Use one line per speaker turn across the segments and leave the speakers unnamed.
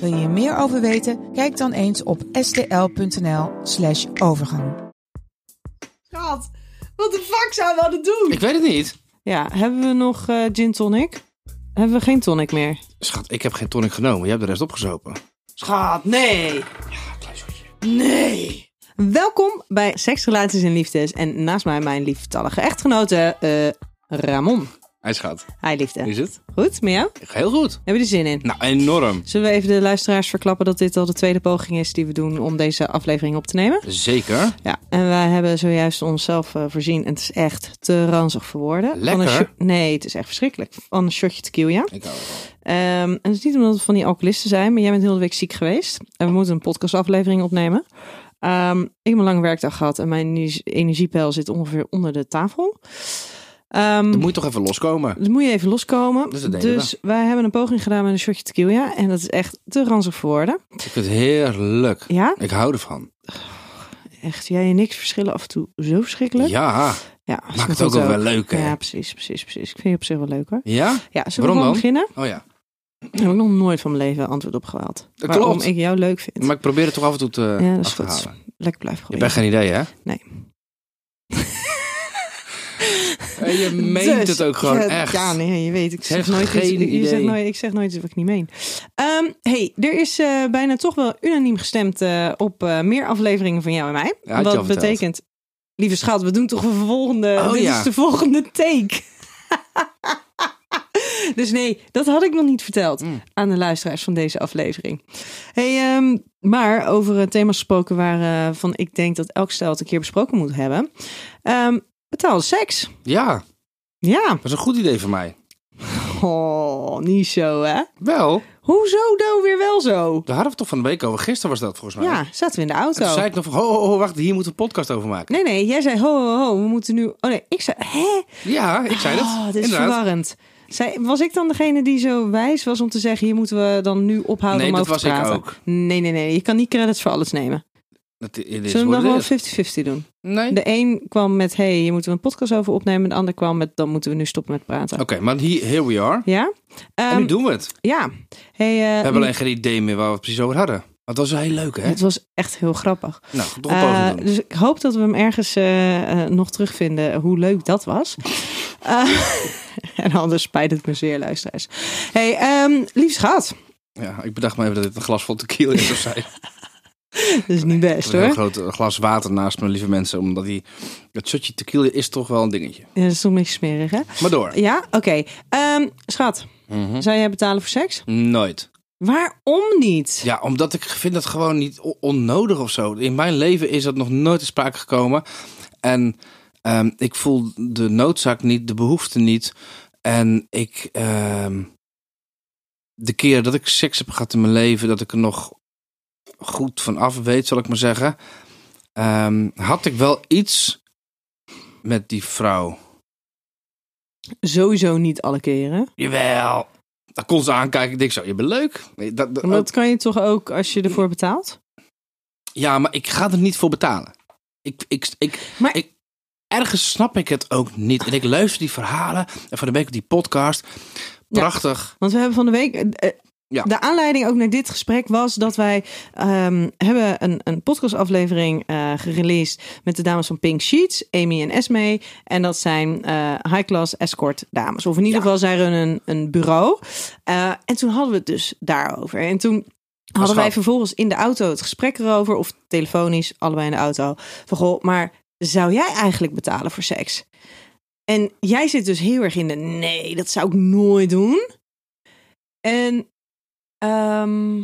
Wil je hier meer over weten? Kijk dan eens op stl.nl/slash overgang.
Schat, wat de fuck zouden we aan het doen?
Ik weet het niet.
Ja, hebben we nog eh, gin tonic? Hebben we geen tonic meer?
Schat, ik heb geen tonic genomen. Je hebt de rest opgezopen.
Schat, nee! Nee! Welkom bij Seks, Relaties en Liefdes. En naast mij mijn lieftallige echtgenote eh, Ramon.
Hij schat.
Hi
Hoe
liefde.
is het?
Goed, met jou?
Heel goed.
Heb je er zin in?
Nou, enorm.
Zullen we even de luisteraars verklappen dat dit al de tweede poging is die we doen om deze aflevering op te nemen?
Zeker.
Ja, en wij hebben zojuist onszelf eh, voorzien. En het is echt te ranzig voor woorden. Van een
Lekker.
shot- nee, het is echt verschrikkelijk. Van een shotje tequila.
Ik hou ervan.
Ehm, en het is niet omdat we van die alcoholisten zijn, maar jij bent heel de week ziek geweest. En we moeten een podcastaflevering opnemen. Ehm, ik heb een lange werkdag gehad en mijn energie- energiepeil zit ongeveer onder de tafel. Ehm,
Dan moet je toch even loskomen.
dus moet je even loskomen.
Dus
Dus,
dat deden
wij hebben een poging gedaan met een shotje tequila. En dat is echt te ranzig voor woorden.
Ik vind het heerlijk.
Ja,
Ik hou ervan.
echt. Jij en niks verschillen af en toe zo verschrikkelijk.
Ja,
Ja, is
maakt
maar
het ook
goed
wel wel leuk, hè?
Ja, precies, precies, precies. Ik vind je op zich wel leuk hoor.
Ja?
Ja, zullen
Waarom
we gewoon
dan?
beginnen?
Oh ja.
Daar heb ik nog nooit van mijn leven antwoord op gehaald.
Dat
Waarom
klopt.
ik jou leuk vind.
Maar ik probeer het toch af en toe te,
Ja, dat is
af te
goed.
halen.
Lekker blijven
Je
proberen.
bent geen idee, hè?
Nee.
En je meent
Dus,
het ook gewoon
ja,
echt.
Ja, nee, je weet, ik zeg,
heeft
nooit
geen
iets, je zegt
idee.
nooit, ik zeg nooit iets wat ik niet meen. Ehm, hey, er is eh, bijna toch wel unaniem gestemd eh, op eh, meer afleveringen van jou en mij.
Ja, had je al
wat
verteld.
betekent, lieve schat, we doen toch een volgende,
Oh,
dit
ja.
is de volgende take. dus nee, dat had ik nog niet verteld
Mm.
aan de luisteraars van deze aflevering. Hey, ehm, maar over eh, thema's gesproken waar eh, van ik denk dat elk stel het een keer besproken moet hebben. Ehm betaalde seks.
Ja, dat
Ja.
is een goed idee van mij.
Oh, niet zo hè?
Wel,
Hoezo nou weer wel zo?
daar hadden we toch van de week over. Gisteren was dat volgens mij.
Ja, zaten we in de
En toen
auto.
zei ik nog van, ho, ho, ho, wacht, hier moeten we een podcast over maken.
Nee, nee, jij zei ho, ho, ho, we moeten nu... Oh nee, ik zei... Hè?
Ja, ik zei dat.
Oh, dit is
Inderdaad.
verwarrend. Zei, was ik dan degene die zo wijs was om te zeggen... hier moeten we dan nu ophouden
Nee,
om
dat
over te
was ik
praten?
ook.
Nee, nee, nee, je kan niet credits voor alles nemen.
Dat i- dit is
Zullen we
wat
hem dan
het is.
gewoon 50-50 doen?
Nee?
De een kwam met, hé, hey, hier moeten we een podcast over opnemen. En de ander kwam met, dan moeten we nu stoppen met praten.
Oké, maar hier here we are.
Ja?
en
Ehm,
nu doen we het. We
Ja. Hey, eh,
hebben alleen geen idee meer waar we het precies over hadden. Maar het was wel heel leuk, hè?
het was echt heel grappig.
Nou, toch een poging
Eh,
doen.
dus ik hoop dat we hem ergens eh, eh, nog terugvinden hoe leuk dat was. Eh, en anders spijt het me zeer, luisteraars. hey, ehm lief schat.
Ja, ik bedacht me even dat dit een glas vol tequila is of zij.
Dat is niet best
een heel
hoor.
groot eh, glas water naast me, lieve mensen. Omdat die, dat shotje tequila is toch wel een dingetje.
Ja, dat is toch een beetje smerig, hè?
Maar door.
Ja, oké. Ehm, schat,
Mhm.
zou jij betalen voor seks?
Nooit.
Waarom niet?
Ja, omdat ik vind dat gewoon niet o- onnodig of zo. In mijn leven is dat nog nooit te sprake gekomen. En ehm, ik voel de noodzaak niet, de behoefte niet. En ik, ehm, de keer dat ik seks heb gehad in mijn leven, dat ik er nog goed van af weet, zal ik maar zeggen. ehm, had ik wel iets met die vrouw.
Sowieso niet alle
Eh, oh.
keren.
Jawel. Dat kon ze aankijken. Ik denk zo, je bent leuk. Nee, Dat, dat-
Maar dat kan je toch ook als je ervoor betaalt?
Ja, maar ik ga er niet voor betalen. Ik, ik, ik,
Maar-
ik, ergens snap ik het ook niet. En ik luister die verhalen en van de week op die podcast.
Ja.
Prachtig.
Want we hebben van de week. eh, eh,
Ja.
De aanleiding ook naar dit gesprek was dat wij ehm, hebben een, een podcastaflevering eh gereleased met de dames van Pink Sheets, Amy en Esme. En dat zijn eh, high-class escort dames. Of in ieder
Ja.
geval zij runnen een, een bureau. Eh, en toen hadden we het dus daarover. En toen hadden wij
schat.
vervolgens in de auto het gesprek erover, of telefonisch, allebei in de auto. Van goh, maar zou jij eigenlijk betalen voor seks? En jij zit dus heel erg in de nee, dat zou ik nooit doen. En ehm,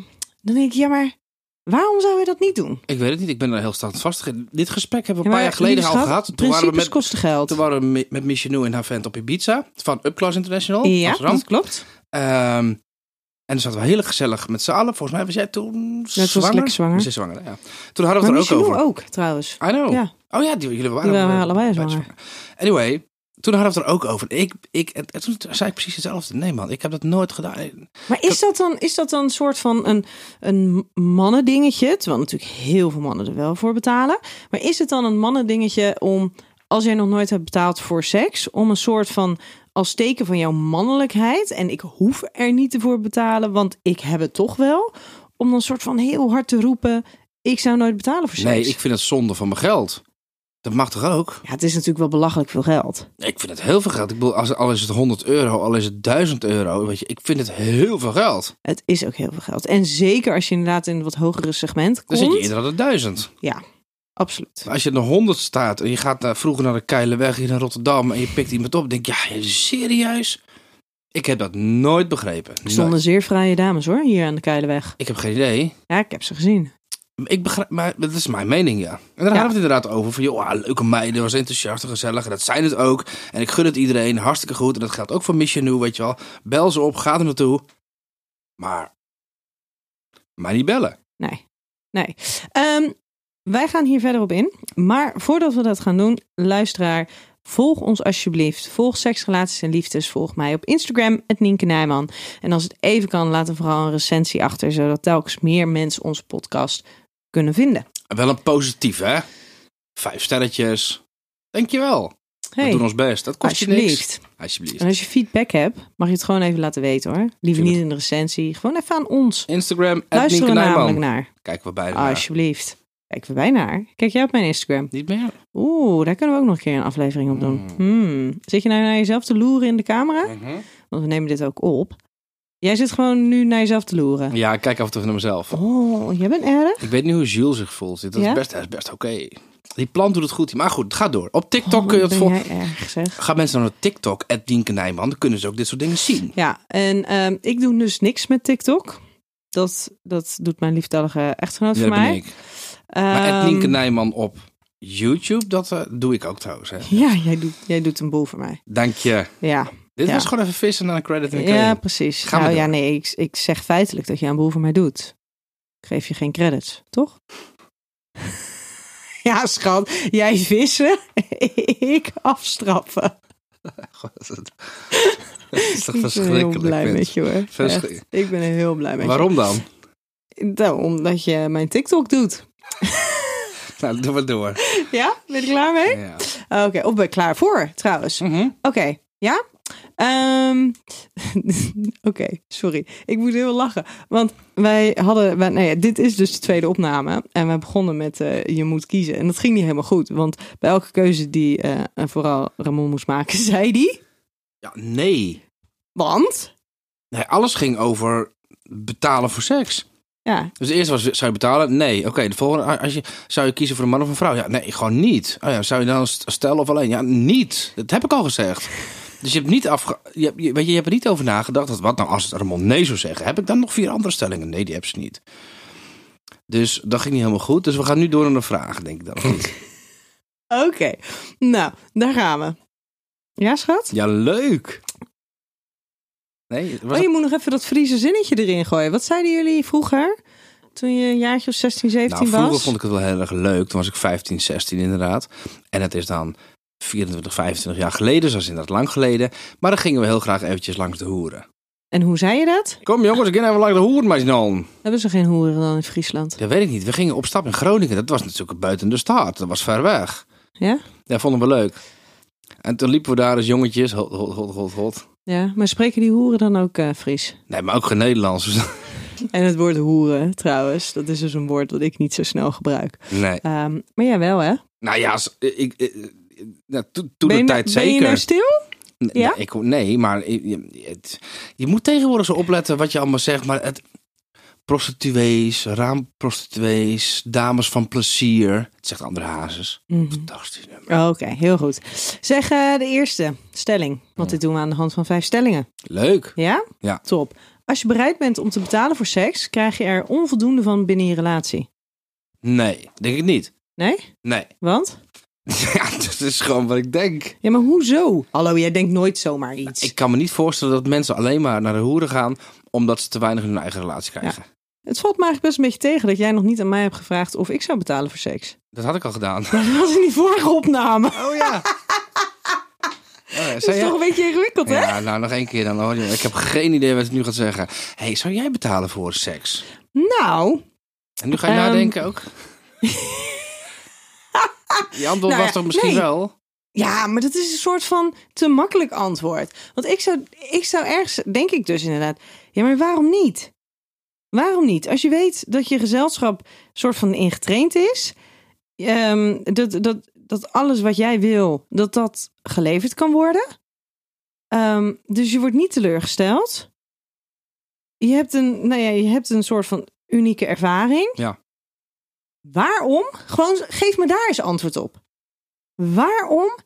dan denk ik, ja, maar waarom zou je dat niet doen?
Ik weet het niet. Ik ben er heel standvastig in. Dit gesprek hebben we
Ja,
een
maar
paar jaar geleden
lieve
al
schat,
gehad. Toen
Principes
waren, we met,
kosten geld.
toen waren we me- met Michel en haar vent op Ibiza. Van Upclass International.
ja,
Amsterdam.
dat klopt.
Ehm, En toen zaten we heel gezellig met z'n allen. Volgens mij was jij toen
was
zwanger.
lekker zwanger.
Was jij zwanger, ja. Toen hadden we
Maar
het er ook
Michel
over.
ook, trouwens.
I know.
Ja.
Oh ja, die, jullie waren,
Die waren allebei
beide
zwanger.
Anyway, toen hadden we het er ook over. Ik, ik, en, en toen zei ik precies hetzelfde. Nee man, ik heb dat nooit gedaan.
Maar is dat dan, is dat dan een soort van een, een mannendingetje? Terwijl natuurlijk heel veel mannen er wel voor betalen. Maar is het dan een mannendingetje om, als jij nog nooit hebt betaald voor seks, om een soort van als teken van jouw mannelijkheid en ik hoef er niet voor te betalen, want ik heb het toch wel, om dan een soort van heel hard te roepen, ik zou nooit betalen voor seks.
Nee, ik vind het zonde van mijn geld. Dat mag toch ook?
Ja, het is natuurlijk wel belachelijk veel geld.
Ik vind het heel veel geld. Ik bedoel, als, al is het 100 euro, al is het 1000 euro. Weet je, ik vind het heel veel geld.
Het is ook heel veel geld. En zeker als je inderdaad in het wat hogere segment
Dan
komt.
zit je eerder aan de 1000.
Ja, absoluut.
Als je in de 100 staat en je gaat naar, vroeger naar de Keilerweg hier in Rotterdam en je pikt iemand op, denk je, ja, serieus? Ik heb dat nooit begrepen.
Er stonden
Nooit.
zeer fraaie dames hoor, hier aan de Keileweg.
Ik heb geen idee.
Ja, ik heb ze gezien.
Ik begrijp, maar dat is mijn mening, ja. En daar hadden we het inderdaad over. Van, joh, ah, leuke meiden, was enthousiast en gezellig. En dat zijn het ook. En ik gun het iedereen, hartstikke goed. En dat geldt ook voor Mission New, weet je wel. Bel ze op, ga er naartoe. Maar, maar niet bellen.
Nee, nee. Ehm, wij gaan hier verder op in. Maar voordat we dat gaan doen, luisteraar, volg ons alsjeblieft. Volg Seks, Relaties en Liefdes. Volg mij op Instagram, het Nienke Nijman. En als het even kan, laat er vooral een recensie achter. Zodat telkens meer mensen onze podcast kunnen vinden.
Wel een positief, hè? Vijf sterretjes. Dankjewel. We
Hey,
doen ons best. Dat kost je niks.
alsjeblieft.
Alsjeblieft.
En als je feedback hebt, mag je het gewoon even laten weten hoor. Liever
Tuurlijk.
niet in de recensie. Gewoon even aan ons.
Instagram, at
Luister
Nienke
er namelijk
Nijman.
naar.
Kijken we
Ah,
beide naar.
Alsjeblieft. Kijken we bij naar. Kijk jij op mijn Instagram?
Niet meer?
Oeh, daar kunnen we ook nog een keer een aflevering op doen. Hmm. Zit je nou naar jezelf te loeren in de camera?
Mhm.
Want we nemen dit ook op. Jij zit gewoon nu naar jezelf te loeren.
Ja, ik kijk af en toe naar mezelf.
Oh, jij bent erg.
Ik weet niet hoe Jules zich voelt. Dat
Ja?
is best, hij is best oké. Die plant doet het goed. Maar goed, het gaat door. Op TikTok
Oh,
kun je het
ben
volgen.
jij erg, zeg.
Ga mensen naar TikTok, at Dienke Nijman. Dan kunnen ze ook dit soort dingen zien.
Ja, en ehm, ik doe dus niks met TikTok. Dat, dat doet mijn liefdallige echtgenoot
Ja,
voor
dat ben
mij.
ik. Maar at
Ehm,
Dienke Nijman op YouTube, dat eh, doe ik ook trouwens. Hè.
ja, jij doet, jij doet een boel voor mij.
Dank je.
Ja,
Dit
Ja.
was gewoon even vissen naar een credit en een
Ja,
claim.
precies.
Gaan we
nou ja,
door.
nee, ik, ik zeg feitelijk dat je een boel voor mij doet. Ik geef je geen credits, toch? ja, schat. Jij vissen, ik afstrappen.
God, dat dat is toch
Ik ben heel
verschrikkelijk.
blij
mens.
met je hoor.
Verschrik-
Echt, ik ben er heel blij mee.
Waarom dan?
Nou, omdat je mijn TikTok doet.
Nou, doe maar door.
Ja, ben je er klaar mee?
Ja.
Oké, of ben je klaar voor trouwens?
Mhm.
Oké, ja? Ehm, Oké, sorry. Ik moet heel lachen. Want wij hadden... Wij, nou ja, dit is dus de tweede opname. En we begonnen met eh, je moet kiezen. En dat ging niet helemaal goed. Want bij elke keuze die eh, vooral Ramon moest maken, zei die...
ja, nee.
Want...
Nee, alles ging over betalen voor seks.
Ja,
Dus eerst was, zou je betalen? Nee. Oké, de volgende, als je, zou je kiezen voor een man of een vrouw? Ja, nee, gewoon niet. Oh ja, zou je dan stellen of alleen? Ja, niet. Dat heb ik al gezegd. Dus je hebt niet afge... Je, hebt- je- weet je, je hebt er niet over nagedacht. Dat, wat nou als het Ramon nee zou zeggen? Heb ik dan nog vier andere stellingen? Nee, die heb ze niet. Dus dat ging niet helemaal goed. Dus we gaan nu door naar de vragen, denk ik dan. of niet?
oké. Nou, daar gaan we. Ja, schat?
Ja, leuk. Nee, was
Oh, je moet nog even dat Friese zinnetje erin gooien. Wat zeiden jullie vroeger? Toen je een jaartje of 16, 17
Nou, vroeger
was?
vond ik het wel heel erg leuk. Toen was ik 15, 16 inderdaad. En het is dan 24, 25 jaar geleden. Dus dat is inderdaad lang geleden. Maar dan gingen we heel graag eventjes langs de hoeren.
En hoe zei je dat?
Kom jongens, ik ga even langs de hoeren, maar dan.
Hebben ze geen hoeren dan in Friesland?
Dat weet ik niet. We gingen op stap in Groningen. Dat was natuurlijk buiten de stad. Dat was ver weg.
Ja?
Dat vonden we leuk. En toen liepen we daar als jongetjes. Hot, hot, hot, hot, hot.
Ja, maar spreken die hoeren dan ook eh, Fries?
Nee, maar ook geen Nederlands. dus-
En het woord hoeren, trouwens, dat is dus een woord dat ik niet zo snel gebruik.
Nee.
Ehm, maar jij wel, hè?
Nou ja, als- ik, ik, ik- nou, toen toen
ben
de
je,
tijd
ben
zeker.
je nou stil?
N-
Ja?
Nee, ik, nee maar je, je- het- je moet tegenwoordig zo opletten wat je allemaal zegt. Maar het, prostituees, raamprostituees, dames van plezier. Het zegt André Hazes. Fantastisch nummer.
Oh, Oké, heel goed. Zeg eh, de eerste stelling, want dit doen we aan de hand van vijf stellingen.
Leuk.
Ja?
Ja.
Top. Als je bereid bent om te betalen voor seks, krijg je er onvoldoende van binnen je relatie.
Nee, denk ik niet.
Nee?
Nee,
Want?
Ja, dat is gewoon wat ik denk.
Ja, maar hoezo? Hallo, jij denkt nooit zomaar iets.
Nou, Ik kan me niet voorstellen dat mensen alleen maar naar de hoeren gaan omdat ze te weinig in hun eigen relatie krijgen.
Het valt me eigenlijk best een beetje tegen dat jij nog niet aan mij hebt gevraagd of ik zou betalen voor seks.
Dat had ik al gedaan.
Dat was in die vorige opname.
Oh ja. Oh
Dat is toch een beetje ingewikkeld, hè?
Ja, nou nog één keer dan hoor. Ik heb geen idee wat het nu gaat zeggen. hey, zou jij betalen voor seks?
Nou,
En nu ga je
Ehm,
nadenken ook. Je antwoord
Nou ja,
was toch misschien
nee.
wel?
Ja, maar dat is een soort van te makkelijk antwoord. Want ik zou, ik zou ergens, denk ik dus inderdaad, ja, maar waarom niet? Waarom niet? Als je weet dat je gezelschap soort van ingetraind is, ehm, dat, dat, dat alles wat jij wil, dat dat geleverd kan worden. Ehm, dus je wordt niet teleurgesteld. Je hebt een, nou ja, je hebt een soort van unieke ervaring.
Ja.
Waarom? Gewoon geef me daar eens antwoord op. Waarom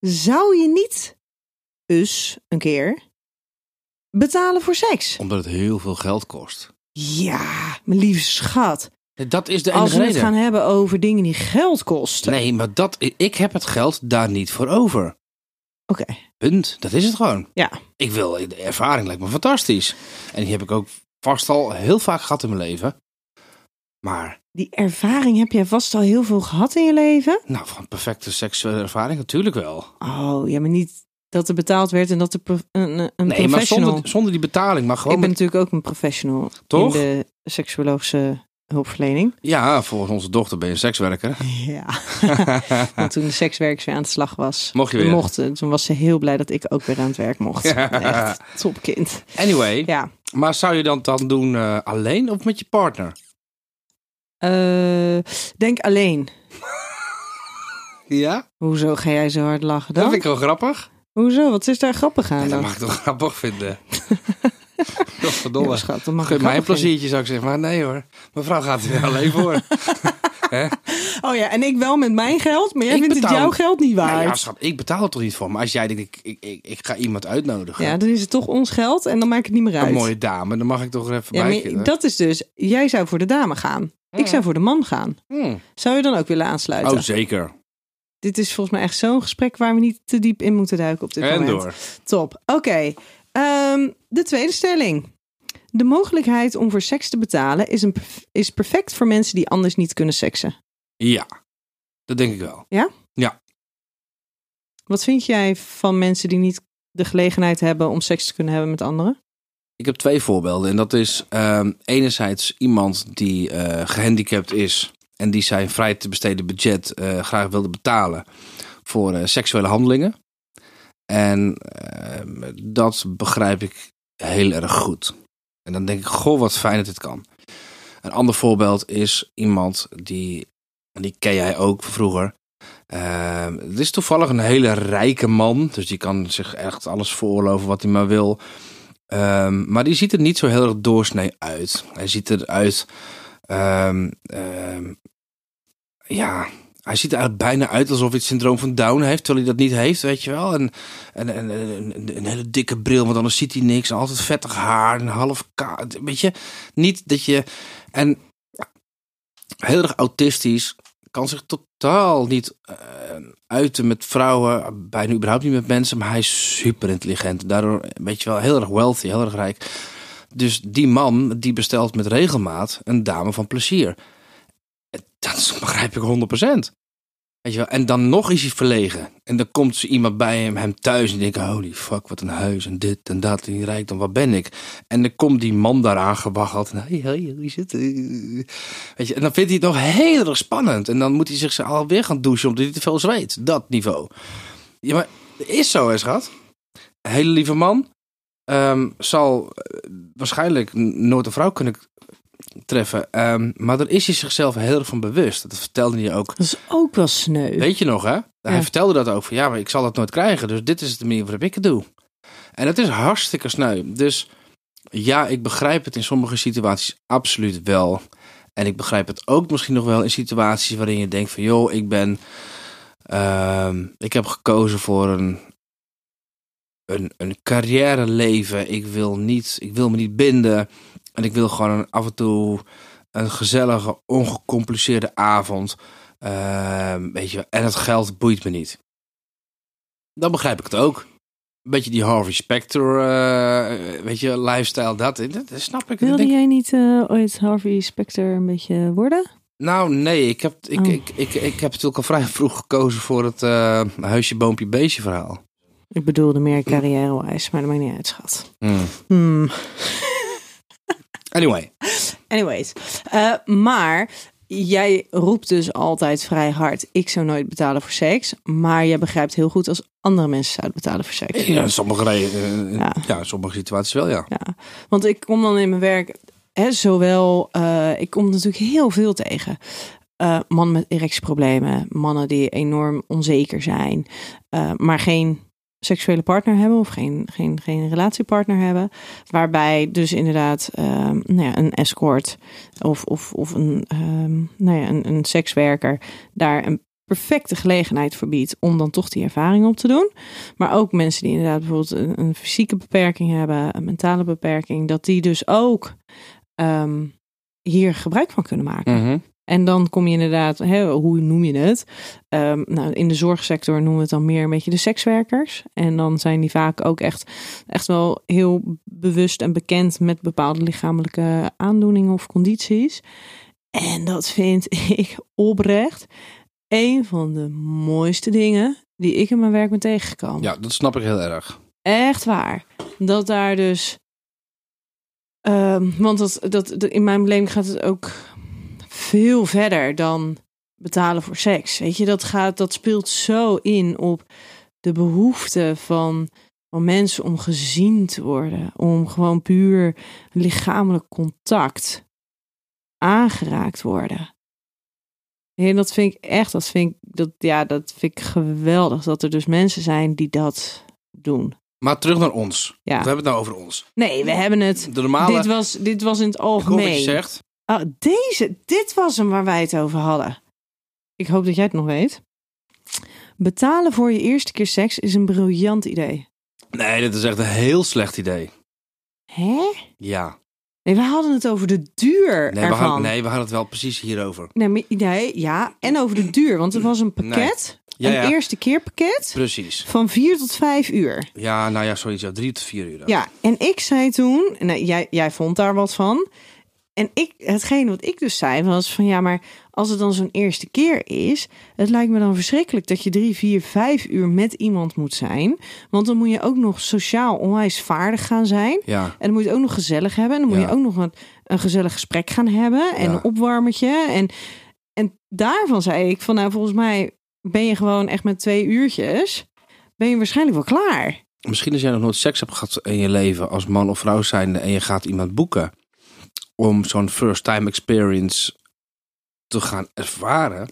zou je niet dus een keer betalen voor seks?
Omdat het heel veel geld kost.
Ja, mijn lieve schat.
Dat is de
Als
enige
we het
reden.
gaan hebben over dingen die geld kosten.
Nee, maar dat, ik heb het geld daar niet voor over.
Oké,
Punt. Dat is het gewoon.
ja.
Ik wil, de ervaring lijkt me fantastisch. En die heb ik ook vast al heel vaak gehad in mijn leven. Maar,
Die ervaring heb jij vast al heel veel gehad in je leven.
nou, van perfecte seksuele ervaring natuurlijk wel.
Oh, ja, maar niet dat er betaald werd en dat er pro- een, een
Nee, maar
professional...
zonder, zonder die betaling, maar gewoon
Ik ben
met-
natuurlijk ook een professional
Toch?
in de seksuologische hulpverlening.
Ja, volgens onze dochter ben je sekswerker.
Ja. Want toen de sekswerkers weer aan de slag was,
Mocht je weer.
mochten, toen was ze heel blij dat ik ook weer aan het werk mocht.
Ja.
Echt topkind.
Anyway,
Ja.
maar zou je dat dan doen eh, alleen of met je partner?
Eh, denk alleen.
Ja,
Hoezo ga jij zo hard lachen
dat
dan?
vind ik wel grappig.
Hoezo? Wat is daar grappig aan
Ja, dat
dan?
mag ik toch grappig vinden.
Ja,
Godverdomme.
schat, dat mag
Geef
ik
eh, mij een
grappig vinden.
pleziertje, zou ik zeggen. Maar nee hoor, mevrouw gaat er alleen voor.
Oh ja, en ik wel met mijn geld, maar jij
Ik
vindt
betaal-
het jouw geld niet waard.
Nou ja, schat, ik betaal er toch niet voor. Maar als jij denkt, ik, ik, ik, ik ga iemand uitnodigen.
Ja, dan is het toch ons geld en dan maakt het niet meer uit.
Een mooie dame, dan mag ik toch er even
ja,
bij
maar dat is dus, jij zou voor de dame gaan. Ik zou voor de man gaan.
Hmm.
Zou je dan ook willen aansluiten?
Mm. Oh, zeker.
Dit is volgens mij echt zo'n gesprek waar we niet te diep in moeten duiken op dit
En
moment.
door.
Top. Oké. Ehm, de tweede stelling. De mogelijkheid om voor seks te betalen is, een, perf- is perfect voor mensen die anders niet kunnen seksen.
Ja, dat denk ik wel.
Wat vind jij van mensen die niet de gelegenheid hebben om seks te kunnen hebben met anderen?
Ik heb twee voorbeelden. En dat is ehm, enerzijds iemand die eh, gehandicapt is en die zijn vrij te besteden budget eh, graag wilde betalen voor eh, seksuele handelingen. En ehm, dat begrijp ik heel erg goed. En dan denk ik, goh, wat fijn dat dit kan. Een ander voorbeeld is iemand die, en die ken jij ook van vroeger. Ehm, het is toevallig een hele rijke man, dus die kan zich echt alles veroorloven wat hij maar wil. Ehm, maar die ziet er niet zo heel erg doorsnee uit. Hij ziet eruit. ehm, ehm, ja, hij ziet er eigenlijk bijna uit alsof hij het syndroom van Down heeft, terwijl hij dat niet heeft, weet je wel. En, en, en, en- een- een hele dikke bril, want anders ziet hij niks. En altijd vettig haar, een half kaart. Weet je, niet dat je. En heel erg autistisch, kan zich totaal niet eh, uiten met vrouwen, bijna überhaupt niet met mensen, maar hij is super intelligent. Daardoor, weet je wel, heel erg wealthy, heel erg rijk. Dus die man, die bestelt met regelmaat een dame van plezier. En Dat is- begrijp ik 100%. Weet je wel? En dan nog is hij verlegen. En dan komt ze iemand bij hem, hem thuis en denkt... holy fuck, wat een huis en dit en dat en die rijkdom, wat ben ik? En dan komt die man daar aangewaggeld. En hey, hey, hoe is het? Eh, Weet je, en dan vindt hij het nog heel erg spannend. En dan moet hij zich alweer gaan douchen omdat hij te veel zweet. Dat niveau. Ja, maar het is zo, hè, schat. Een hele lieve man ehm, zal eh, waarschijnlijk n- nooit een vrouw kunnen k- treffen. Ehm, maar daar is hij zichzelf heel erg van bewust. Dat vertelde hij ook.
Dat is ook wel sneu.
Weet je nog, hè? Hij
Ja.
vertelde dat ook. Van, ja, maar ik zal dat nooit krijgen. Dus dit is de manier waarop ik het doe. En het is hartstikke sneu. Dus ja, ik begrijp het in sommige situaties absoluut wel. En ik begrijp het ook misschien nog wel in situaties waarin je denkt van... joh, ik ben... ehm, ik heb gekozen voor een, een, een carrière leven. Ik wil, niet, ik wil me niet binden. En ik wil gewoon af en toe een gezellige, ongecompliceerde avond Ehm, weet je, wel. en het geld boeit me niet. Dan begrijp ik het ook. Een beetje die Harvey Specter, eh, weet je, lifestyle, dat, dat, dat snap ik. Dat
Wilde
denk ik-
jij niet eh, ooit Harvey Specter een beetje worden?
Nou, nee, ik heb, ik,
Oh.
ik, ik, ik heb natuurlijk al vrij vroeg gekozen voor het eh, huisje, boompje, beestje verhaal.
Ik bedoelde meer carrière-wise, maar dat maakt niet uit, schat. Hmm.
Anyway,
Anyways, eh, maar jij roept dus altijd vrij hard: ik zou nooit betalen voor seks. Maar jij begrijpt heel goed als andere mensen zouden betalen voor seks.
ja, in sommige, re- eh,
Ja.
ja, in sommige situaties wel, ja.
Want ik kom dan in mijn werk, hè, zowel, eh, ik kom natuurlijk heel veel tegen. Eh, mannen met erectieproblemen, mannen die enorm onzeker zijn, eh, maar geen seksuele partner hebben of geen, geen, geen relatiepartner hebben. Waarbij dus inderdaad ehm, nou ja, een escort of, of, of een, ehm, nou ja, een, een sekswerker daar een perfecte gelegenheid voor biedt om dan toch die ervaring op te doen. Maar ook mensen die inderdaad bijvoorbeeld een, een fysieke beperking hebben, een mentale beperking, dat die dus ook ehm, hier gebruik van kunnen maken. En dan kom je inderdaad, hè, hoe noem je het? Ehm, nou, in de zorgsector noemen we het dan meer een beetje de sekswerkers. En dan zijn die vaak ook echt, echt wel heel bewust en bekend met bepaalde lichamelijke aandoeningen of condities. En dat vind ik oprecht een van de mooiste dingen die ik in mijn werk ben tegengekomen.
Ja, dat snap ik heel erg.
Echt waar. Dat daar dus. Ehm, want dat, dat, dat- in mijn beleving gaat het ook veel verder dan betalen voor seks. Weet je, dat, gaat, dat speelt zo in op de behoefte van, van mensen om gezien te worden. Om gewoon puur lichamelijk contact aangeraakt worden. En dat vind ik echt, dat vind ik, dat, ja, dat vind ik geweldig. Dat er dus mensen zijn die dat doen.
Maar terug naar ons.
Ja.
We hebben het nou over ons.
Nee, we hebben het.
De normale...
Dit was, dit was in het
Ik hoor wat je
algemeen.
zegt.
Oh, deze, dit was hem waar wij het over hadden. Ik hoop dat jij het nog weet. Betalen voor je eerste keer seks is een briljant idee.
Nee, dit is echt een heel slecht idee.
Hè?
Ja.
Nee, we hadden het over de duur
Nee, we
ervan.
hadden, nee, we hadden het wel precies hierover.
Nee, maar- nee, ja, en over de duur. Want het was een
Nee.
pakket,
Ja,
een
ja.
eerste keer pakket,
Precies.
van vier tot vijf uur.
Ja, nou ja, sorry, zo drie tot vier uur. dan.
Ja, en ik zei toen, nou, jij, jij vond daar wat van. En ik, hetgeen wat ik dus zei was van ja, maar als het dan zo'n eerste keer is, het lijkt me dan verschrikkelijk dat je drie, vier, vijf uur met iemand moet zijn. Want dan moet je ook nog sociaal onwijs vaardig gaan zijn.
Ja.
En dan moet je het ook nog gezellig hebben. En dan moet
Ja.
je ook nog een, een gezellig gesprek gaan hebben. En
Ja.
een opwarmetje. En, en daarvan zei ik van nou, volgens mij ben je gewoon echt met twee uurtjes, ben je waarschijnlijk wel klaar.
Misschien als jij nog nooit seks hebt gehad in je leven als man of vrouw zijnde en je gaat iemand boeken om zo'n first time experience te gaan ervaren.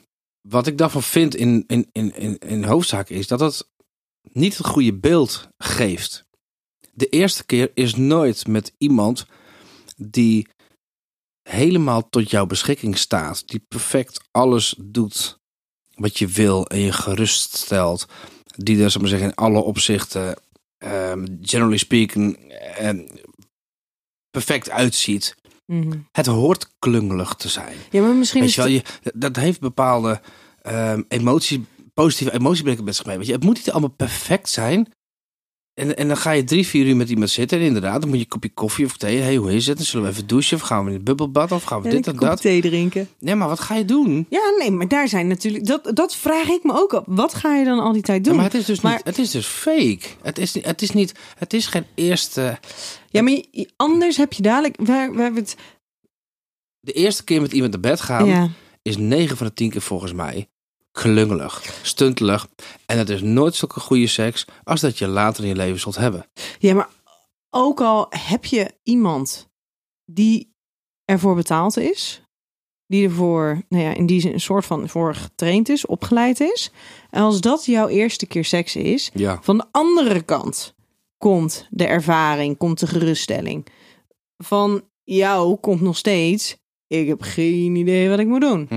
Wat ik daarvan vind in, in, in, in, in hoofdzaak is dat het niet het goede beeld geeft. De eerste keer is nooit met iemand die helemaal tot jouw beschikking staat. Die perfect alles doet wat je wil en je gerust stelt. Die er, zal ik maar zeggen, in alle opzichten ehm, generally speaking, ehm, perfect uitziet. Het hoort klungelig te zijn.
Ja, maar misschien
Mhm. Weet
is
je wel,
het-
je, dat heeft bepaalde ehm emoties, positieve emoties brengen met zich mee. Weet je, het moet niet allemaal perfect zijn. En, en dan ga je drie, vier uur met iemand zitten. En inderdaad, dan moet je een kopje koffie of thee. hey, hoe is het? Dan zullen we even douchen. Of gaan we in het bubbelbad? Of gaan we dit en
een kopje
dat?
thee drinken.
Nee, maar wat ga je doen?
Ja, nee, maar daar zijn natuurlijk... Dat, dat vraag ik me ook op. Wat ga je dan al die tijd doen?
Ja, maar het is dus,
Maar-
niet, het is dus fake. Het is, niet- het, is niet, het is geen eerste...
Ja, maar je- je- anders heb je dadelijk... Waar, waar we het,
De eerste keer met iemand naar bed gaan...
ja.
is 9 van de 10 keer volgens mij klungelig, stuntelig. En het is nooit zulke goede seks als dat je later in je leven zult hebben.
ja, maar ook al heb je iemand die ervoor betaald is... Die ervoor, nou ja, in die zin een soort van voor getraind is, opgeleid is. En als dat jouw eerste keer seks is,
Ja.
Van de andere kant komt de ervaring, komt de geruststelling. Van Mhm. jou komt nog steeds, ik heb geen idee wat ik moet doen.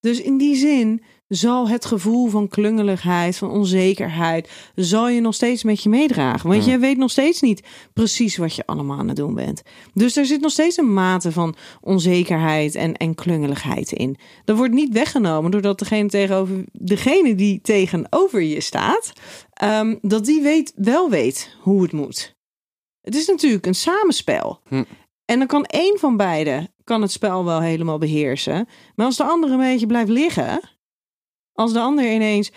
Dus in die zin zal het gevoel van klungeligheid, van onzekerheid, zal je nog steeds met je meedragen. Want
Ja.
jij weet nog steeds niet precies wat je allemaal aan het doen bent. Dus er zit nog steeds een mate van onzekerheid en, en klungeligheid in. Dat wordt niet weggenomen doordat degene, tegenover, degene die tegenover je staat, ehm, dat die weet, wel weet hoe het moet. Het is natuurlijk een samenspel.
Hm.
En dan kan één van beiden kan het spel wel helemaal beheersen. Maar als de ander een beetje blijft liggen, als de ander ineens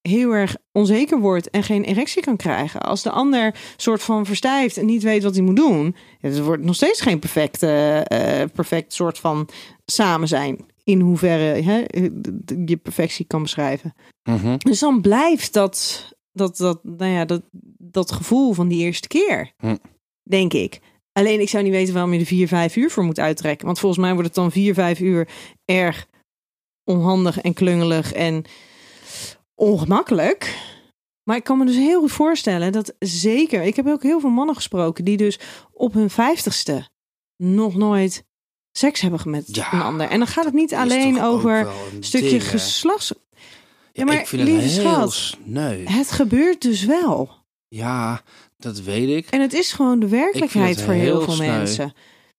heel erg onzeker wordt en geen erectie kan krijgen, als de ander soort van verstijft en niet weet wat hij moet doen, ja, het wordt nog steeds geen perfect, eh, eh, perfect soort van samen zijn. In hoeverre hè, eh, je perfectie kan beschrijven.
Mhm.
Dus dan blijft dat, dat, dat, nou ja, dat, dat gevoel van die eerste keer.
Hm.
Denk ik. Alleen ik zou niet weten waarom je er vier, vijf uur voor moet uittrekken. Want volgens mij wordt het dan vier, vijf uur erg onhandig en klungelig en ongemakkelijk. Maar ik kan me dus heel goed voorstellen dat zeker... Ik heb ook heel veel mannen gesproken die dus op hun vijftigste nog nooit seks hebben met
Ja,
een ander. En dan gaat het niet
Is
alleen
toch ook
over
wel een
een stukje
ding, hè?
geslachts... Ja, maar
ik vind het
lieve
heel
schat.
sneu.
Het gebeurt dus wel.
Ja, dat weet ik.
En het is gewoon de
Ik vind
werkelijkheid
het
voor heel,
heel
veel
sneu.
mensen.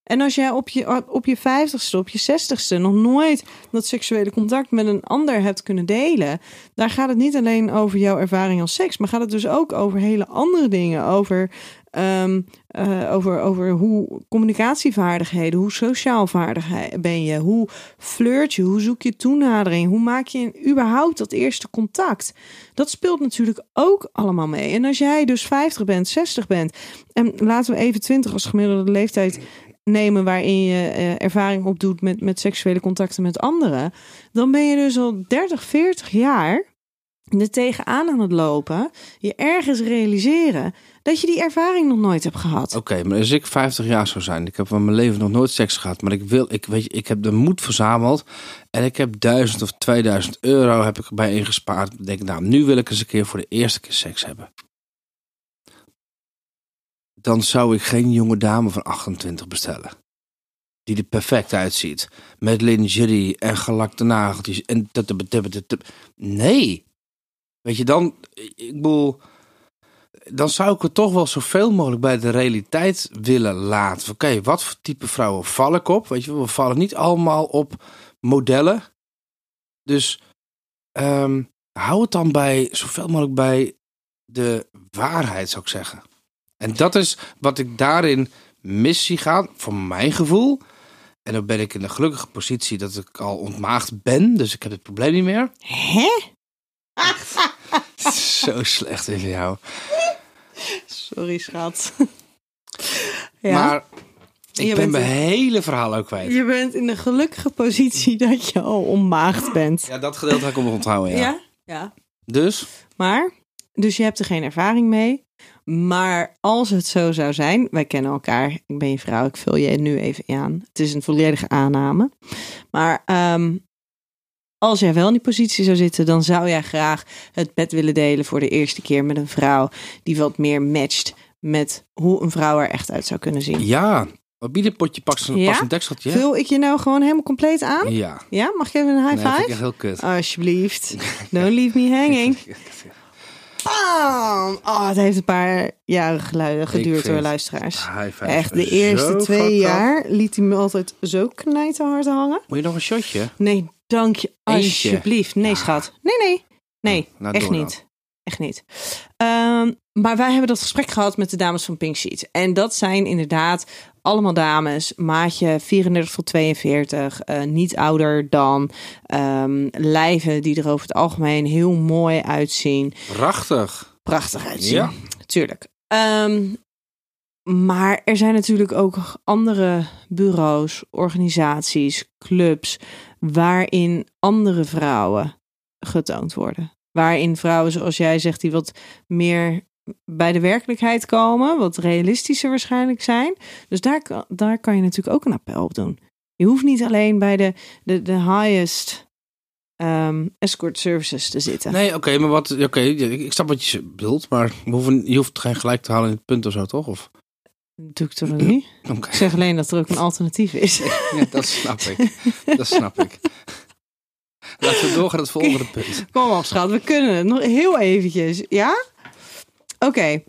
En als jij op je, op je vijftigste, op je zestigste nog nooit dat seksuele contact met een ander hebt kunnen delen, daar gaat het niet alleen over jouw ervaring als seks, maar gaat het dus ook over hele andere dingen. Over, ehm, eh, over, over hoe communicatievaardigheden, hoe sociaal vaardig hij- ben je, hoe flirt je, hoe zoek je toenadering, hoe maak je überhaupt dat eerste contact. Dat speelt natuurlijk ook allemaal mee. En als jij dus 50 bent, 60 bent, en laten we even 20 als gemiddelde leeftijd nemen waarin je eh, ervaring opdoet met, met seksuele contacten met anderen, dan ben je dus al 30, 40 jaar er tegenaan aan het lopen, je ergens realiseren dat je die ervaring nog nooit hebt gehad.
Oké, maar als ik 50 jaar zou zijn, ik heb in mijn leven nog nooit seks gehad, maar ik wil, ik weet, je, ik heb de moed verzameld en ik heb 1000 of 2000 euro heb ik erbij ingespaard. Ik denk, nou, nu wil ik eens een keer voor de eerste keer seks hebben. Dan zou ik geen jonge dame van 28 bestellen. Die er perfect uitziet. Met lingerie en gelakte nageltjes. En dat- dat- dat- dat- dat- nee. Weet je, dan... Ik bedoel dan zou ik het toch wel zoveel mogelijk bij de realiteit willen laten. Oké, wat voor type vrouwen val ik op? Weet je, wel, we vallen niet allemaal op modellen. Dus ehm, hou het dan bij zoveel mogelijk bij de waarheid, zou ik zeggen. En dat is wat ik daarin mis zie gaan, voor mijn gevoel. En dan ben ik in de gelukkige positie dat ik al ontmaagd ben, dus ik heb het probleem niet meer.
Hè?
Zo slecht in jou.
Sorry, schat.
Maar ik
Je
ben
bent
mijn
een-
hele verhaal ook kwijt.
je bent in de gelukkige positie dat je al onmaagd bent.
Ja, dat gedeelte ga ik op onthouden, ja.
ja? ja.
Dus,
Maar, dus je hebt er geen ervaring mee. Maar als het zo zou zijn, wij kennen elkaar. Ik ben je vrouw, ik vul je nu even aan. Het is een volledige aanname. Maar ehm, als jij wel in die positie zou zitten, dan zou jij graag het bed willen delen voor de eerste keer met een vrouw die wat meer matcht met hoe een vrouw er echt uit zou kunnen zien.
ja. Wat biedt een potje past een,
Ja?
past een dekseltje? hè?
Vul ik je nou gewoon helemaal compleet aan?
Ja.
Ja, mag ik even een
Nee,
high
dat vind ik
five? Oh,
echt heel kut.
Alsjeblieft. Don't leave me hanging. Bam! Oh, het heeft een paar jaren geluiden geduurd
vind
door
het-
luisteraars.
High five.
Echt, de
Zo
eerste
fucked
twee
up.
jaar liet hij me altijd zo knijterhard hangen.
Moet je nog een shotje?
Nee, dank je.
Eentje.
Alsjeblieft. Nee,
Ja.
schat. Nee, nee. Nee,
Nou, nou,
echt
door dan.
niet. Echt niet. Ehm, maar wij hebben dat gesprek gehad met de dames van Pink Sheet. En dat zijn inderdaad allemaal dames. Maatje 34 tot 42. eh, niet ouder dan. ehm, lijven die er over het algemeen heel mooi uitzien
Prachtig.
prachtig uitzien.
Ja.
Tuurlijk. Ehm, maar er zijn natuurlijk ook andere bureaus, organisaties, clubs waarin andere vrouwen getoond worden. Waarin vrouwen, zoals jij zegt, die wat meer bij de werkelijkheid komen, wat realistischer waarschijnlijk zijn. Dus daar, kan- daar kan je natuurlijk ook een appel op doen. Je hoeft niet alleen bij de, de, de highest ehm, escort services te zitten.
Nee, oké, maar wat... Oké, ik, ik snap wat je bedoelt, maar we hoeven, je hoeft geen gelijk te halen in het punt of zo, toch? Of,
Doe ik toch nog niet?
oké.
Ik zeg alleen dat er ook een alternatief is.
Ja, dat snap ik. Dat snap ik. Laten we doorgaan naar het volgende punt.
Kom op, schat. We kunnen het. Nog heel eventjes. Ja? Oké.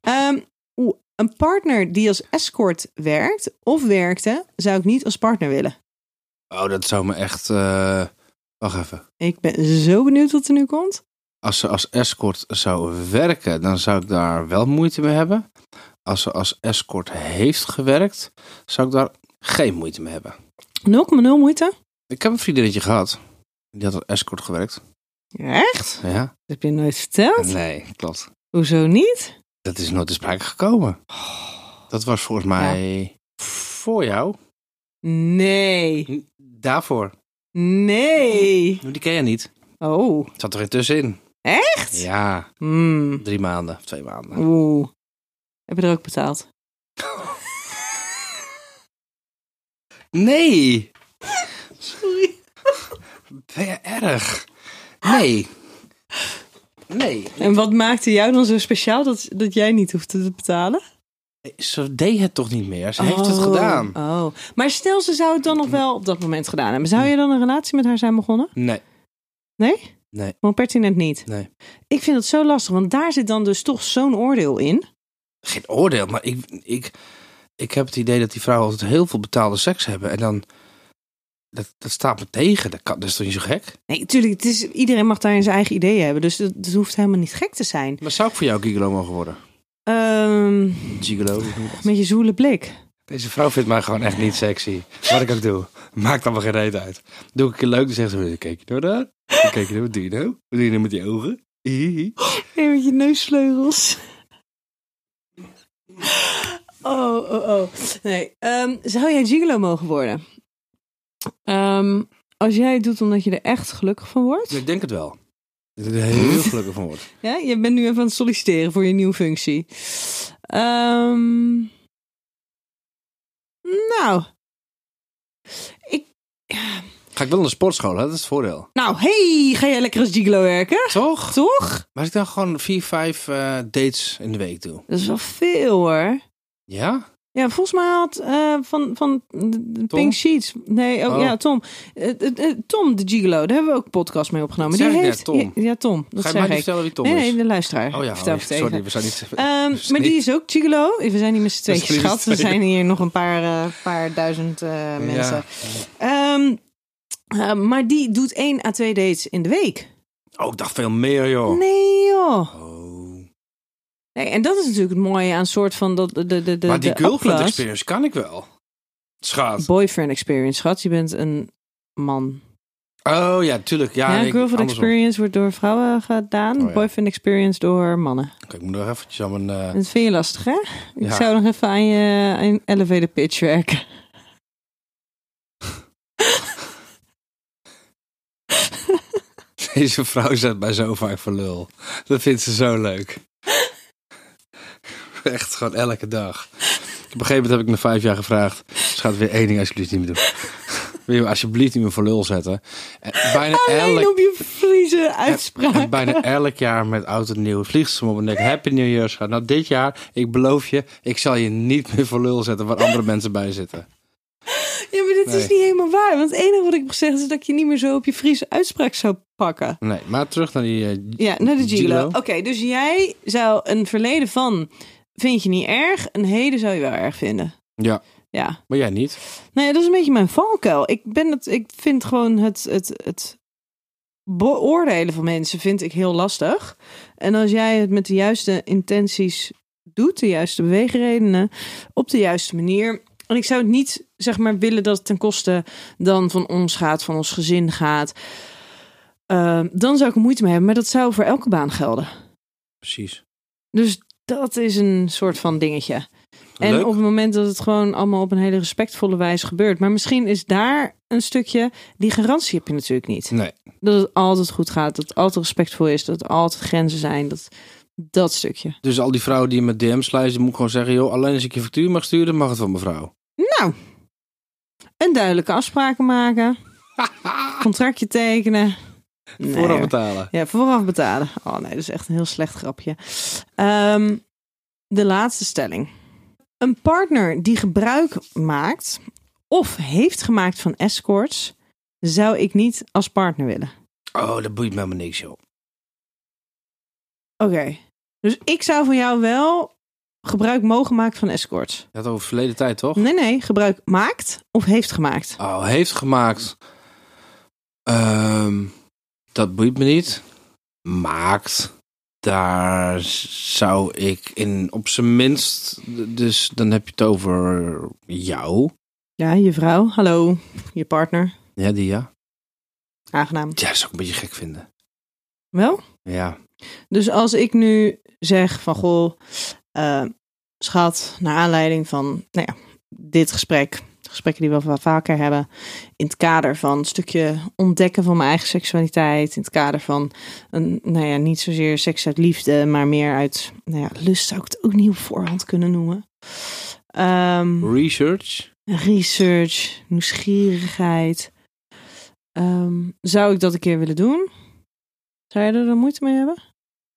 Ehm, oeh, een partner die als escort werkt of werkte, zou ik niet als partner willen.
Oh, dat zou me echt... eh, Wacht even.
Ik ben zo benieuwd wat er nu komt.
Als ze als escort zou werken, dan zou ik daar wel moeite mee hebben. Als ze als escort heeft gewerkt, zou ik daar geen moeite mee hebben.
0,0 moeite.
Ik heb een vriendinnetje gehad. Die had als escort gewerkt.
Echt?
Ja?
Dat heb je nooit verteld?
Nee, klopt.
Hoezo niet?
Dat is nooit te sprake gekomen. Dat was volgens mij voor jou.
Nee.
Daarvoor.
Nee.
Die ken je niet.
Oh.
Het zat er tussenin.
Echt?
Ja,
Hmm.
drie maanden of twee maanden.
Oeh. Heb je er ook betaald?
Nee! Ben je erg? Nee. Nee.
En wat maakte jou dan zo speciaal dat, dat jij niet hoefde te betalen?
Ze deed het toch niet meer? Ze heeft het gedaan.
Oh. Maar stel, ze zou het dan nog wel op dat moment gedaan hebben. Zou je dan een relatie met haar zijn begonnen?
Nee.
Nee?
Nee.
Gewoon pertinent niet.
Nee.
Ik vind dat zo lastig, want daar zit dan dus toch zo'n oordeel in.
Geen oordeel, maar ik, ik, ik heb het idee dat die vrouwen altijd heel veel betaalde seks hebben. En dan. Dat, dat staat me tegen. Dat, kan, dat is toch niet zo gek?
Nee, natuurlijk. Het is, iedereen mag daarin zijn eigen ideeën hebben. Dus het, het hoeft helemaal niet gek te zijn.
Maar zou ik voor jou gigolo mogen worden?
Ehm,
Gigolo? hoe noem je dat?
met je zoele blik.
Deze vrouw vindt mij gewoon echt niet sexy. Wat ik ook doe. Maakt allemaal geen reet uit. Doe ik een keer leuk, dan zegt ze... Kijk je nou daar? Dan Kijk je nou, wat doe je nou? Wat doe je nou met die ogen? Hihi.
Nee, met je neusvleugels. Oh, oh, oh. Nee. ehm, zou jij gigolo mogen worden? Ehm, als jij het doet omdat je er echt gelukkig van wordt.
Ik denk het wel. Ik ben er heel gelukkig van word.
Ja, je bent nu even aan het solliciteren voor je nieuwe functie. Ehm, nou.
Ga ik wel naar de sportschool, hè? dat is het voordeel.
Nou, hey, ga jij lekker als gigolo werken?
Toch?
Toch?
Maar als ik dan gewoon vier, vijf eh, dates in de week doe.
Dat is wel veel hoor.
Ja?
Ja, volgens mij had eh, van, van de- de
Tom?
Pink Sheets. Nee, oh,
Oh.
ja, Tom. Eh, eh, eh, Tom de Gigolo, daar hebben we ook een podcast mee opgenomen.
Dat
die
zeg ik
heeft,
net, Tom.
Ja, ja, Tom. Dat
Ga je mij
zeg
niet
ik.
vertellen wie Tom
Nee,
is?
nee, de luisteraar.
Oh ja,
Vertel
oh,
even tegen.
sorry, we zijn niet...
Ehm,
we zijn
maar die
niet-
is ook Gigolo. We zijn niet met z'n
zijn
tweeën,
niet met
schat.
z'n
Er
tweeën.
zijn hier nog een paar, eh, paar duizend eh, mensen. Ehm, eh, maar die doet één à twee dates in de week.
Oh, ik dacht veel meer, joh.
Nee joh.
Oh.
Nee, en dat is natuurlijk het mooie aan soort van dat de, de, de, de
maar die
de
girlfriend
upclass.
experience kan ik wel. Schat.
boyfriend experience, schat. Je bent een man.
Oh ja, tuurlijk. Ja,
Ja,
ik-
girlfriend
andersom.
experience wordt door vrouwen gedaan.
Oh ja.
Boyfriend experience door mannen.
Oké, ik moet nog eventjes aan mijn... eh,
Dat vind je lastig, hè? Ik
Ja.
zou nog even aan je aan je elevator pitch werken.
Deze vrouw zet mij zo vaak voor lul. Dat vindt ze zo leuk. Echt gewoon elke dag. Op een gegeven moment heb ik na vijf jaar gevraagd. Ze gaat weer één ding alsjeblieft niet meer doen. Wil je me alsjeblieft niet meer voor lul zetten? En bijna,
Alleen
elk,
op je vriezen uitspraak.
en bijna elk jaar met oud en nieuw vliegt ze me op mijn nek. Happy New Year, schat. Nou, dit jaar, ik beloof je, ik zal je niet meer voor lul zetten waar andere mensen bij zitten.
Ja, maar dit
Nee.
is niet helemaal waar. Want het enige wat ik heb gezegd is dat ik je niet meer zo op je vriezen uitspraak zou pakken.
Nee, maar terug naar die... eh,
Ja, naar de gigolo.
Gigolo.
Oké, dus jij zou een verleden van vind je niet erg, een heden zou je wel erg vinden.
ja,
Ja.
maar jij niet.
Nou ja, dat is een beetje mijn valkuil. Ik, ben het, ik vind gewoon het, het, het beoordelen van mensen vind ik heel lastig. En als jij het met de juiste intenties doet, de juiste beweegredenen, op de juiste manier. En ik zou het niet, zeg maar, willen dat het ten koste dan van ons gaat, van ons gezin gaat. Eh, dan zou ik er moeite mee hebben, maar dat zou voor elke baan gelden.
Precies.
Dus dat is een soort van dingetje. En
Leuk.
op het moment dat het gewoon allemaal op een hele respectvolle wijze gebeurt. Maar misschien is daar een stukje. Die garantie heb je natuurlijk niet.
Nee.
Dat het altijd goed gaat. Dat het altijd respectvol is. Dat er altijd grenzen zijn. Dat, dat stukje.
Dus al die vrouwen die met DM's lijsten, moet ik gewoon zeggen: joh, alleen als ik je factuur mag sturen, mag het van mevrouw.
Nou. En duidelijke afspraken maken. Contractje tekenen. Nee,
Vooraf
hoor.
betalen.
Ja, vooraf betalen. Oh nee, dat is echt een heel slecht grapje. Ehm, de laatste stelling. Een partner die gebruik maakt of heeft gemaakt van escorts, zou ik niet als partner willen.
Oh, dat boeit me helemaal niks, joh.
Oké. Dus ik zou van jou wel gebruik mogen maken van escorts.
Je had het over verleden tijd, toch?
Nee, nee, gebruik maakt of heeft gemaakt.
Oh, heeft gemaakt. Ehm, dat boeit me niet. Maakt. Daar zou ik in op zijn minst. Dus dan heb je het over jou.
Ja, je vrouw, hallo, je partner,
Ja, die ja.
aangenaam.
Ja, zou ik een beetje gek vinden.
Wel?
Ja.
Dus als ik nu zeg van goh, eh, schat, naar aanleiding van nou ja, dit gesprek, gesprekken die we wel vaker hebben, in het kader van een stukje ontdekken van mijn eigen seksualiteit, in het kader van een, nou ja, niet zozeer seks uit liefde, maar meer uit nou ja, lust zou ik het ook niet op voorhand kunnen noemen. Ehm,
Research.
research, nieuwsgierigheid. Ehm, zou ik dat een keer willen doen? Zou jij er dan moeite mee hebben?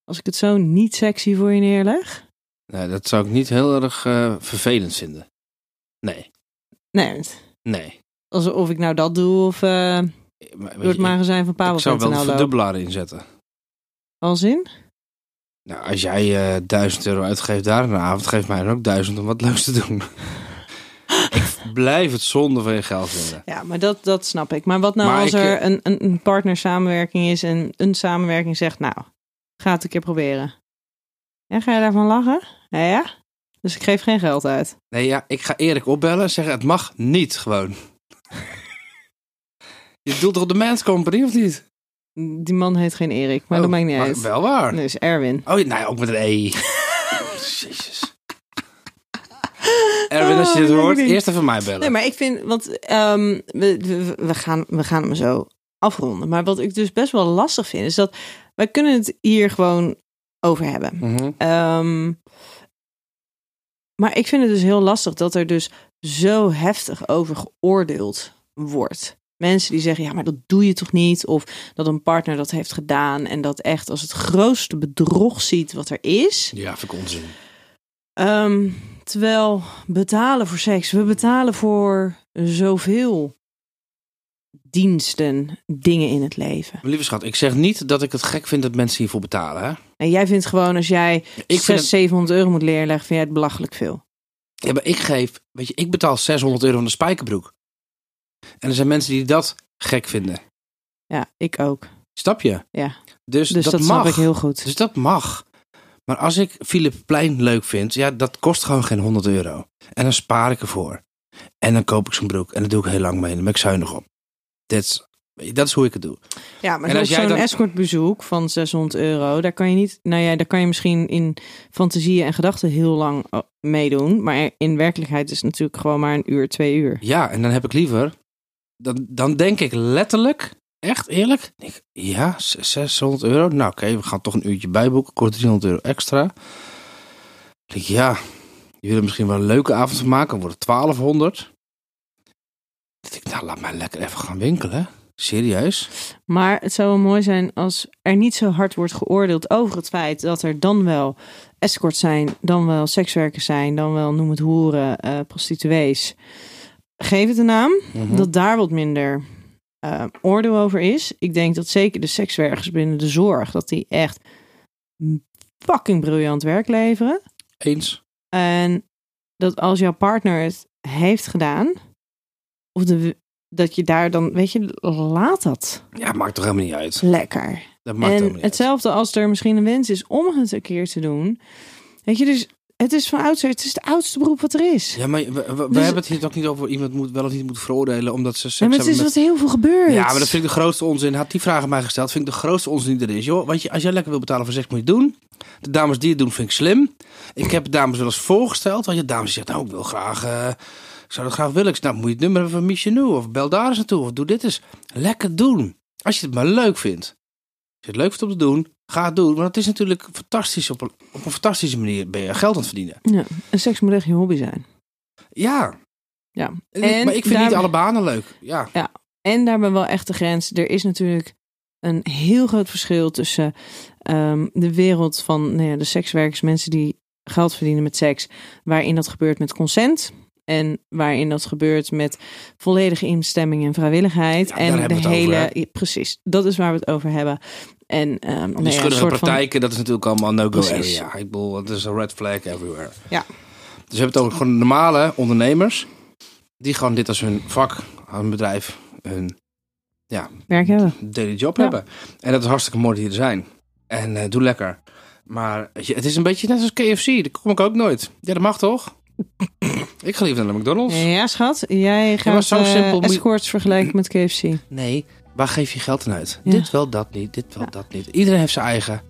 Als ik het zo niet sexy voor je neerleg?
Nou, dat zou ik niet heel erg eh, vervelend vinden. Nee.
Nee, want
Nee.
alsof ik nou dat doe of eh,
Maar-
door het magazijn van
ik zou wel
Pabel.nl
een
lopen.
verdubbelaar inzetten.
Als in?
Nou, als jij eh 1000 euro uitgeeft daar een avond, geef mij dan ook 1000 om wat leuks te doen. ik blijf het zonde van je geld vinden.
Ja, maar dat, dat snap ik. Maar wat nou
Maar
als
ik, eh,
er een, een, een partner samenwerking is en een samenwerking zegt, nou, ga het een keer proberen. En ga je daarvan lachen? Ja, ja. Dus ik geef geen geld uit.
Nee, ja, ik ga Erik opbellen en zeggen: het mag niet gewoon. je doet toch op de Man's Company of niet?
Die man heet geen Erik, maar
Oh,
dat maakt niet uit.
Wel waar.
Dus Erwin.
Oh, nou ja, ook met een E. Jezus. Erwin, als je dit
Oh,
hoort,
leuk.
eerst even mij bellen.
Nee, maar ik vind, want ehm, we, we, we gaan, we gaan hem zo afronden. Maar wat ik dus best wel lastig vind, is dat wij kunnen het hier gewoon over hebben.
Mhm.
Ehm, maar ik vind het dus heel lastig dat er dus zo heftig over geoordeeld wordt. Mensen die zeggen, ja, maar dat doe je toch niet? Of dat een partner dat heeft gedaan en dat echt als het grootste bedrog ziet wat er is.
Ja, vind ik onzin.
Ehm, terwijl betalen voor seks, we betalen voor zoveel diensten, dingen in het leven.
Lieve schat, ik zeg niet dat ik het gek vind dat mensen hiervoor betalen. Hè?
En jij vindt gewoon als jij
Ik,
600,
vind het-
700 euro moet leerleggen, vind jij het belachelijk veel.
Ja, maar ik geef, weet je, ik betaal 600 euro aan de spijkerbroek. En er zijn mensen die dat gek vinden.
Ja, ik ook.
Snap je?
Ja.
Dus,
Dus
dat,
dat,
mag.
snap ik heel goed.
Dus dat mag. Maar als ik Philip Plein leuk vind, ja, dat kost gewoon geen 100 euro. En dan spaar ik ervoor. En dan koop ik zijn broek. En daar doe ik heel lang mee. En dan ben ik zuinig op. That's- weet je, Dat is hoe ik het doe.
ja, maar
en
zo'n
als jij
escortbezoek
dan-
escortbezoek van 600 euro, daar kan je niet, nou ja, daar kan je misschien in fantasieën en gedachten heel lang eh, meedoen. Maar in werkelijkheid is het natuurlijk gewoon maar een uur, twee uur.
Ja, en dan heb ik liever. Dan, dan denk ik letterlijk, echt eerlijk. Ik, ja, z- 600 euro. Nou, oké, we gaan toch een uurtje bijboeken. Kort 300 euro extra. Ik denk, ja, je wil er misschien wel een leuke avond van maken. Dan wordt het 1200. Ik denk, nou, laat mij lekker even gaan winkelen. Serieus?
Maar het zou wel mooi zijn als er niet zo hard wordt geoordeeld over het feit dat er dan wel escorts zijn, dan wel sekswerkers zijn, dan wel noem het hoeren, eh, prostituees. Geef het een naam,
Mhm.
dat daar wat minder eh, oordeel over is. Ik denk dat zeker de sekswerkers binnen de zorg, dat die echt fucking briljant werk leveren.
Eens.
En dat als jouw partner het heeft gedaan, of de, dat je daar dan, weet je, laat dat
Ja, maakt toch helemaal niet uit.
lekker
Dat maakt
en
helemaal niet uit.
hetzelfde als er misschien een wens is om het een keer te doen. Weet je, dus het is van oudsher, het is het oudste beroep wat er is.
Ja, maar we, we- we
Dus-
hebben het hier ook niet over iemand moet wel of niet moet veroordelen omdat ze seks
Ja, maar het
hebben
is
met
wat heel veel gebeurt.
Ja, maar dat vind ik de grootste onzin. Had die vraag aan mij gesteld, vind ik de grootste onzin die er is. Joh. Want je, als jij lekker wil betalen voor seks, moet je het doen. De dames die het doen, vind ik slim. Ik heb het dames wel eens voorgesteld. Want je dames zegt, nou, ik wil graag... eh, ik zou dat graag willen. Ik zeg, nou, moet je het nummer hebben van Michel Of bel daar eens naartoe. Of doe dit eens. Lekker doen. Als je het maar leuk vindt. Als je het leuk vindt om te doen, ga het doen. Want het is natuurlijk fantastisch. Op een, op een fantastische manier ben je geld aan het verdienen.
Ja, en seks moet echt je hobby zijn.
Ja.
Ja. En
maar ik vind
daar-
niet alle banen leuk. Ja.
En daarbij wel echt de grens. Er is natuurlijk een heel groot verschil tussen ehm, de wereld van nou ja, de sekswerkers, mensen die geld verdienen met seks, waarin dat gebeurt met consent. En waarin dat gebeurt met volledige instemming en vrijwilligheid.
Ja, daar
en de
hebben we het
hele.
over,
ja, Precies, dat is waar we het over hebben. En ehm, nou ja,
Die schudderige
soort van-
praktijken, dat is natuurlijk allemaal no-go
Precies.
area. Ik bedoel, het is een red flag everywhere.
Ja.
Dus we hebben het over gewoon normale ondernemers. Die gewoon dit als hun vak, hun bedrijf, hun
Werk hebben.
daily job
Ja.
hebben. En dat is hartstikke mooi dat die er zijn. En eh, doe lekker. Maar weet je, het is een beetje net als KFC. Daar kom ik ook nooit. Ja, dat mag toch? ik ga liever naar de McDonald's.
Ja, schat, jij
maar
gaat
zo
eh,
simpel moet je-
escorts vergelijken met KFC.
Nee, waar geef je geld aan uit?
Ja.
Dit wel, dat niet, dit wel, dat niet. Iedereen heeft zijn eigen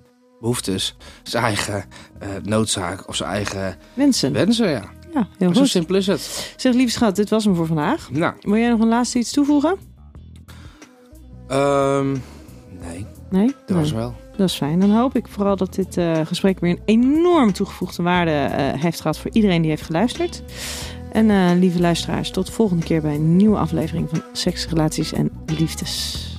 behoeftes, zijn eigen eh, noodzaak of zijn eigen
Wensen.
wensen. Ja.
Ja, heel
Zo
goed.
simpel is het.
Zeg, lieve schat, dit was hem voor vandaag.
Nou,
Wil jij nog een laatste iets toevoegen?
ehm, nee,
Nee?
dat was
Nee.
wel.
Nou, Dat is fijn. Dan hoop ik vooral dat dit eh, gesprek weer een enorm toegevoegde waarde eh, heeft gehad voor iedereen die heeft geluisterd. En eh, lieve luisteraars, tot de volgende keer bij een nieuwe aflevering van Seks, Relaties en Liefdes.